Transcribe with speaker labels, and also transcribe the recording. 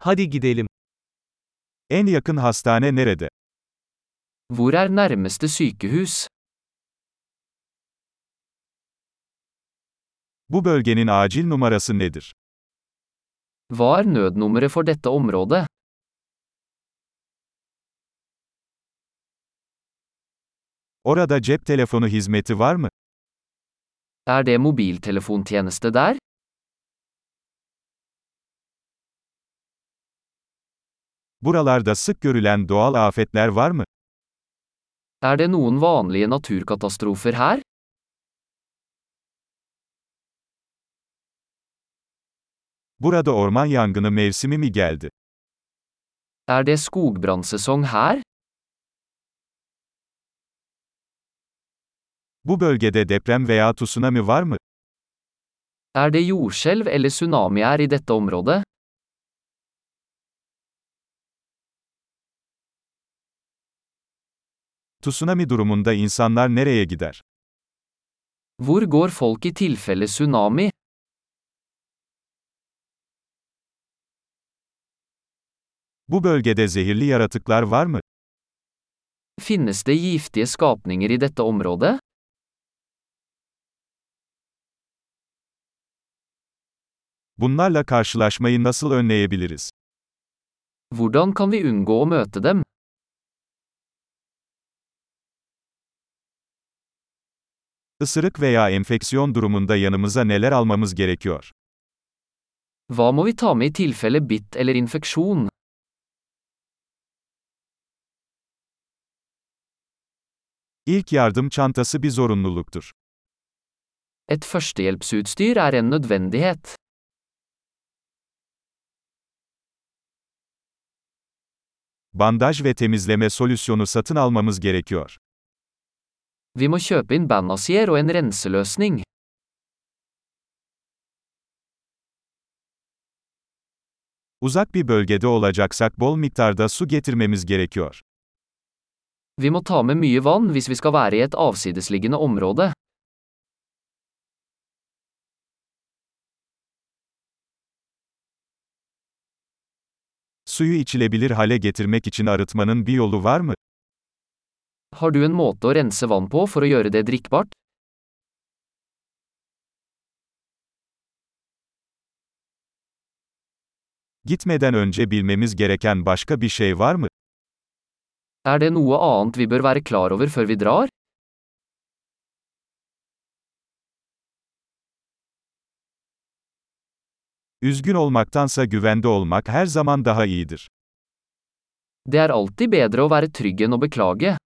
Speaker 1: Hadi gidelim. En yakın hastane nerede?
Speaker 2: Hvor er nærmeste sykehus?
Speaker 1: Bu bölgenin acil numarası nedir?
Speaker 2: Hva er nødnummeret for dette området?
Speaker 1: Orada cep telefonu hizmeti var mı?
Speaker 2: Er det mobiltelefontjeneste der?
Speaker 1: Buralarda sık görülen doğal afetler var mı?
Speaker 2: Er det noen vanlige naturkatastrofer her?
Speaker 1: Burada orman yangını mevsimi mi geldi?
Speaker 2: Er det skogbrannsesong her?
Speaker 1: Bu bölgede deprem veya tsunami var mı?
Speaker 2: Er det jordskjelv eller tsunami her i dette området?
Speaker 1: Tsunami durumunda insanlar nereye gider?
Speaker 2: Hvor går folk i tilfelle tsunami?
Speaker 1: Bu bölgede zehirli yaratıklar var mı?
Speaker 2: Finnes det giftige skapninger i dette området?
Speaker 1: Bunlarla karşılaşmayı nasıl önleyebiliriz?
Speaker 2: Hvordan kan vi unngå å møte dem?
Speaker 1: Isırık veya enfeksiyon durumunda yanımıza neler almamız gerekiyor?
Speaker 2: Hva må vi ta med i tilfelle bitt eller infeksjon?
Speaker 1: İlk yardım çantası bir zorunluluktur.
Speaker 2: Et førstehjelpsutstyr er en nødvendighet.
Speaker 1: Bandaj ve temizleme solüsyonu satın almamız gerekiyor.
Speaker 2: Vi må kjøpe inn bandasier og en renseløsning.
Speaker 1: Uzak bir bölgede olacaksak bol miktarda su getirmemiz gerekiyor.
Speaker 2: Vi må ta med mye vann hvis vi skal være i et avsidesliggende område.
Speaker 1: Suyu içilebilir hale getirmek için arıtmanın bir yolu var mı?
Speaker 2: Har du en måte å rense vann på for å gjøre det drikkbart?
Speaker 1: Gitmeden önce bilmemiz gereken başka bir şey var mı?
Speaker 2: Er det noe annet vi bør være klar over før vi drar?
Speaker 1: Üzgün olmaktansa güvende olmak her zaman daha iyidir.
Speaker 2: Det er alltid bedre å være trygg enn å beklage.